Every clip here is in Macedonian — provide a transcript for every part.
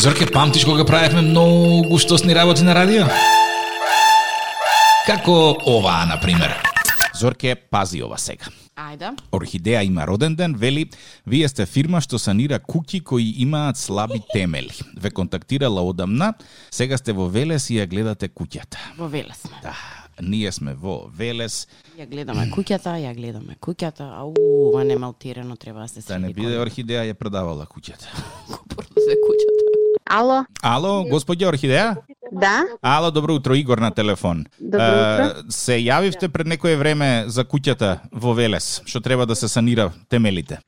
Зорке, памтиш кога правевме многу штосни работи на радио? Како оваа, на пример. Зорке, пази ова сега. Ајде. Орхидеја има роден ден, вели, вие сте фирма што санира куќи кои имаат слаби темели. Ве контактирала одамна, сега сте во Велес и ја гледате куќата. Во веле сме. Да, ние сме во Велес, Ја гледаме куќата, ја гледаме куќата. Ау, ова не малтирано треба да се да не биде Орхидеја ја продавала куќата. Купурно се куќата. Ало, Ало, господја Орхидеја? да, Ало, добро утро, Игор на телефон. Добро Е, се јавивте пред некое време за куќата во Велес, што треба да се санира темелите.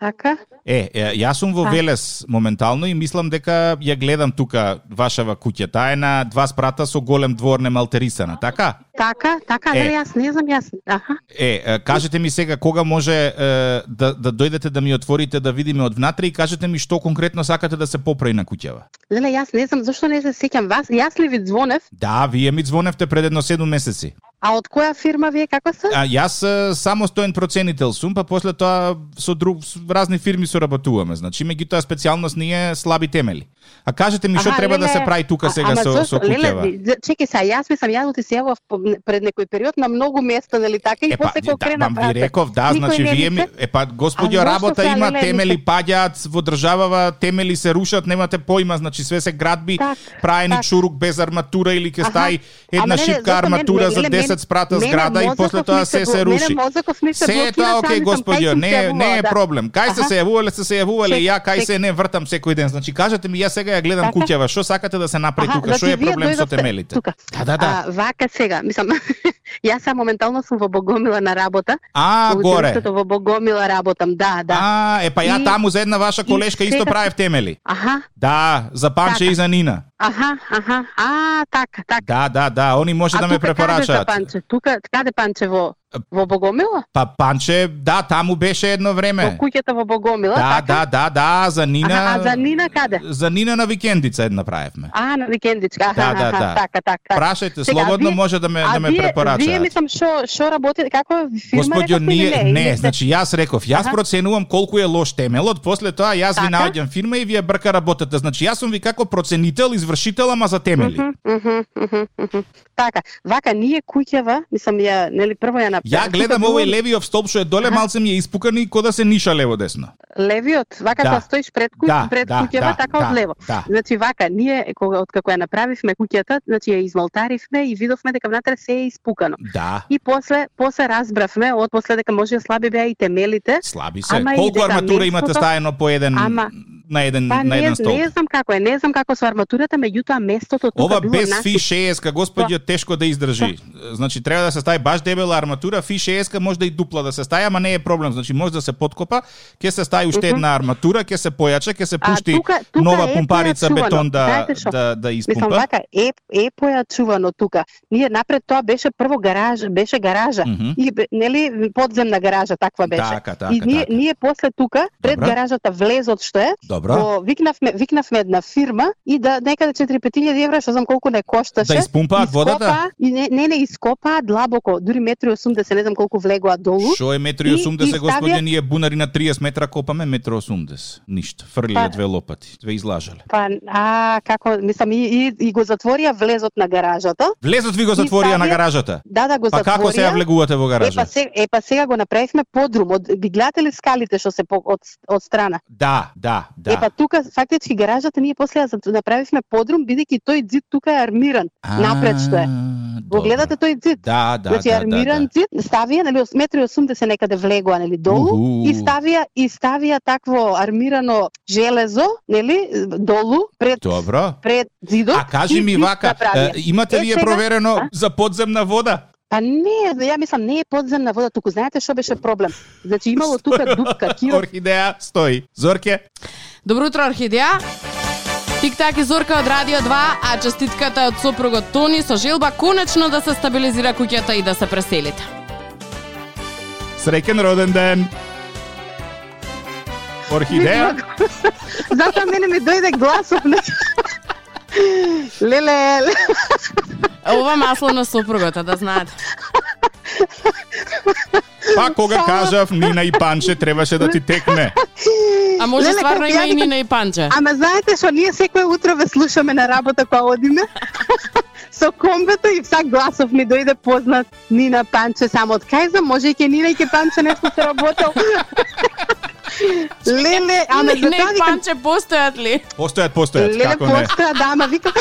така. Е, е, јас сум во Велес моментално и мислам дека ја гледам тука вашава куќа. Таа е на два спрата со голем двор немалтерисана, така? Така, така, Е. да, јас не знам, јас, аха. Е, е, кажете ми сега кога може е, да, да дојдете да ми отворите да видиме од внатре и кажете ми што конкретно сакате да се поправи на куќава. Леле, јас не знам зошто не се сеќам вас. Јас ли ви звонев? Да, вие ми звоневте пред едно 7 месеци. А од која фирма вие како се? А јас е, самостоен проценител сум, па после тоа со друг с разни фирми соработуваме. Значи, меѓутоа специјалност не е слаби темели. А кажете ми што Аха, треба да леле, се прави тука а- сега ама со зошто? со Леле, куќава. ви- чекай сега, јас мислам, јас ти се јавав по- пред некој период на многу места, нели така, и после да, кој крена вам ви реков, да, никој значи не вие ми, вика. е па господјо А зошто работа се, има леле, темели мислам? паѓаат во државава, темели се рушат, немате појма, значи све се градби, Так, праени так. чурук без арматура или ќе Аха. стаи Ама, една леле, шипка зошто мен- арматура за леле, мен- 10 спрата мене зграда и мозокот после ми тоа се се бл- се руши. Мене мозокот ми се Се е блокира, тоа сам окей, сам господјо, сам не, се не е јавувала, да. проблем. Кај се Аха. се јавувале, се се јавувале, Чек, ја кај чек. се не вртам секој ден. Значи кажете ми, ја сега ја гледам Така. куќава, што сакате да се направи Аха, тука, што значи е вие проблем со дојдовте темелите? тука. Да, да, да. А, вака сега, мислам, јас сам моментално сум во Богомила на работа. А, Во горе. училиштето во Богомила работам, да, да. А, е па ја И- таму за една ваша колешка и исто сега- правев темели. Аха, Да, за Панче Така. и за Нина. аха, аха, а, така, така. Да, да, да, они може А да ме тука каде за препорачаат. Панче? Тука, каде Панче во во Богомила? Па Панче, да, таму беше едно Во време. куќата во Богомила, Да, така? да, да, да, за Нина. Аха, а за Нина каде? За Нина на викендица една правевме. А, на викендичка. Аха, Да, да, аха, да. така, така. Прашајте, Сега, слободно вие- може да ме а да ме вие, Вие препорачаат. мислам што што работите, како е фирма Господјо, некаква или ние, Или не, се- значи јас реков, јас Аха. проценувам колку е лош темелот, после тоа јас ви Така. наоѓам фирма и вие брка работата. Значи јас сум ви како проценител, извршител, ама за темели. Мгм, мгм, мгм, мгм. Така, вака ние куќава, мислам ја, нели прво ја направи. Ја гледам овој левиов столб што е доле, Така Аха. малце ми е испукан и кода се ниша лево десно. левиот, вака Да. да, стоиш пред ку... Да, пред да, куќава, да, така да, од лево. да. Значи вака, ние кога од како ја направивме куќата, значи ја измалтаривме и видовме дека внатре се е испукано. Да, И после после разбравме од после дека може ја слаби беа и темелите. слаби се. Ама и Колку дека арматура имате местото- стаено по еден Ама- на еден Па на не, еден столб? не знам како е, не знам како со арматурата, меѓутоа местото тука Ова било без нас- фи 60 господјо тешко да издржи. Значи треба да се стави баш дебела арматура, фи 60 може да и дупла да се стави, ама не е проблем. Значи може да се подкопа, ќе се стави уште една арматура, ќе се појача, ќе се А, пушти тука- тука нова е пумпарица појачувано. бетон да Знаете што? да да Мислам, испумпа. вака, е, е појачувано тука. Ние напред тоа беше прво гараж, беше гаража. Мгм. И, бе- нели, подземна гаража таква беше. Така, така, и ние, така. ние после тука, пред Добра. гаражата влезот што е, Добро. го викнавме, викнавме една фирма и да некаде 4-5.000 евра, што знам колку не кошташе. Да испумпаат ископаа- водата? И не, не, не, ископаат длабоко, дури метри 80, не знам колку влегоа долу. Што е метри И- 80 и ставија- господје, ние бунари на 30 метра копаме метри 80. Ништо. Фрлиле Па- две лопати, две излажале. Па, а, како, мислам, и, и, и го затворија влезот на гаражата. Влезот ви го И затворија на ставија- гаражата. Да, да, го Па затворија. како се ја влегувате во Е па, гаража? сега, е, па сега го направивме подрум. Од, ги гледате ли скалите што се по, од, од страна? Да, да, да. Е па тука, фактички, гаражата ние после ја зат- направивме подрум, бидејќи тој зид тука е армиран. напред што е. А, Го добро. гледате тој зид? Да, да, значи, да, да, да. армиран зид, ставија, нали, 8 метри 80 некаде влегоа, нели, долу, Уху. и ставија, и ставија такво армирано железо, нели, долу, пред, Добро. пред зидот. А кажи и ми зид вака, направија. е, имате Е, ли е сега- проверено А? за подземна вода? Па не, ја мислам, не е подземна вода, туку знаете што беше проблем? Значи имало тука дупка, киров, Орхидеја стои. Зорке, Добро утро, Орхидеја. Тик-так и Зорка од Радио 2, а честитката е од сопругот Тони со желба конечно да се стабилизира куќата и да се преселите. среќен роден ден. Орхидеја, Затоа мене ми дојде гласот. не? Леле, ле. Ова масло на сопругата, да знаете. па кога Само- Па, кажав Нина и Панче требаше да ти текне. А може Леле, стварно колку има и јадите- Нина и Панче. Ама знаете што ние секој утро ве слушаме на работа кога одиме. Со комбето и всак гласов ми дојде познат Нина Панче само од Кајза, може и ке Нина и ке Панче нешто се работел. Леле, ама за Нина тоа и викам, Панче постојат ли? Постојат, постојат, леле како не. постоја, да, ама викам...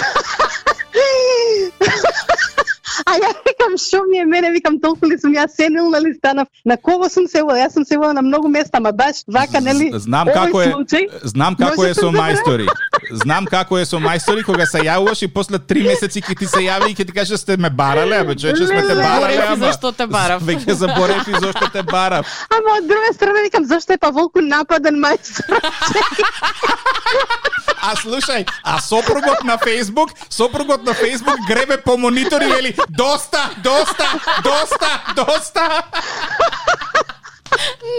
А ја викам, што ми е мене, викам, толку ли сум ја сенилна ли станав, на кого сум се јас сум се јавила на многу места, ма баш вака, нели, З- Знам овој како е, случај, знам како е може со да забравам. мајстори. Знам како е со мајстори кога се јавуваш и после три месеци ќе ти се јави и ќе ти каже сте ме барале, абе човече сме те Заборев барале, и ама. зашто те барав. Веќе заборев и зашто те барав. Ама од друга страна викам зашто е Паволку нападен мајстор. А слушај, а сопругот на Фејсбук, сопругот на Фејсбук гребе по монитор и вели доста, доста, доста, доста.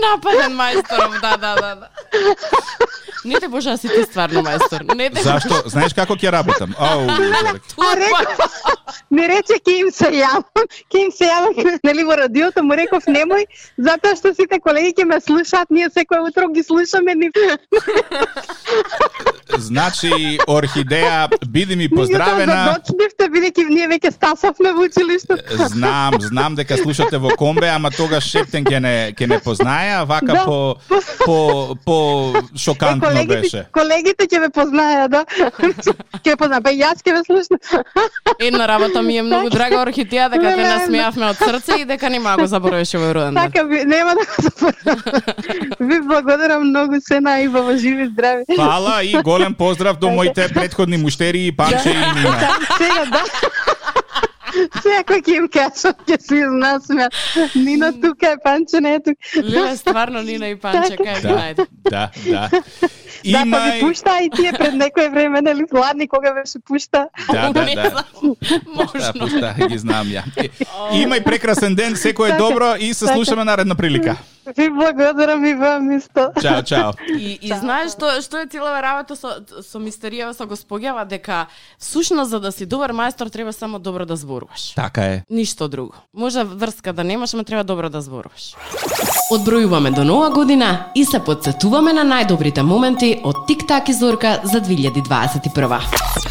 Нападен мајсторов, да, да, да. да. Не те боже, а си ти стварно мајстор. Не те Зашто? Знаеш како ќе работам? Ау, Зорек. А реков, ми рече ке им се јавам, ке им се јавам нели во радиото, му реков немој, затоа што сите колеги ќе ме слушаат, ние секој утро ги слушаме ни. Значи, орхидеја, биди ми Меѓутоа, поздравена. задочнивте бидејќи ние веќе стасавме во училиште. Знам, знам дека слушате во комбе, ама тогаш Шептен ќе не ќе не познае, а вака Да. по по по Е, шокантно колегите, беше. колегите ќе ме познаја, да. Ќе ме познаја, па и јас ќе ме слушам. Една работа ми е многу драга орхидеја дека те насмеавме од срце и дека нема да го заборавиш овој роден ден. Така ви, нема да го заборавам. Ви благодарам многу се најубаво, живи здрави. Фала и голем поздрав до моите предходни муштери и Панче и Нина. Сега да. Сега кој ќе им кажам, ќе си знасмеат. Нина тука е, Панче не е тука. Леле, стварно Нина и Панче, кај да. Да, знаете. да, да. Да, па Има ви пушта и тие пред некој време, нели, гладни кога беше пушта. Да, да, Не да. знам, Да, Можно. пушта, ги знам ја. Е, Имај прекрасен ден, секој е Така. добро и се слушаме наредна прилика. Ви благодарам и вам исто. Чао, чао. И, и знаеш што што е целава работа со со мистеријава со госпоѓава дека всушност за да си добар мајстор треба само добро да зборуваш. Така е. Ништо друго. Може врска да немаш, ама треба добро да зборуваш. Одбројуваме до нова година и се подсетуваме на најдобрите моменти од Тик так и Зорка за 2021.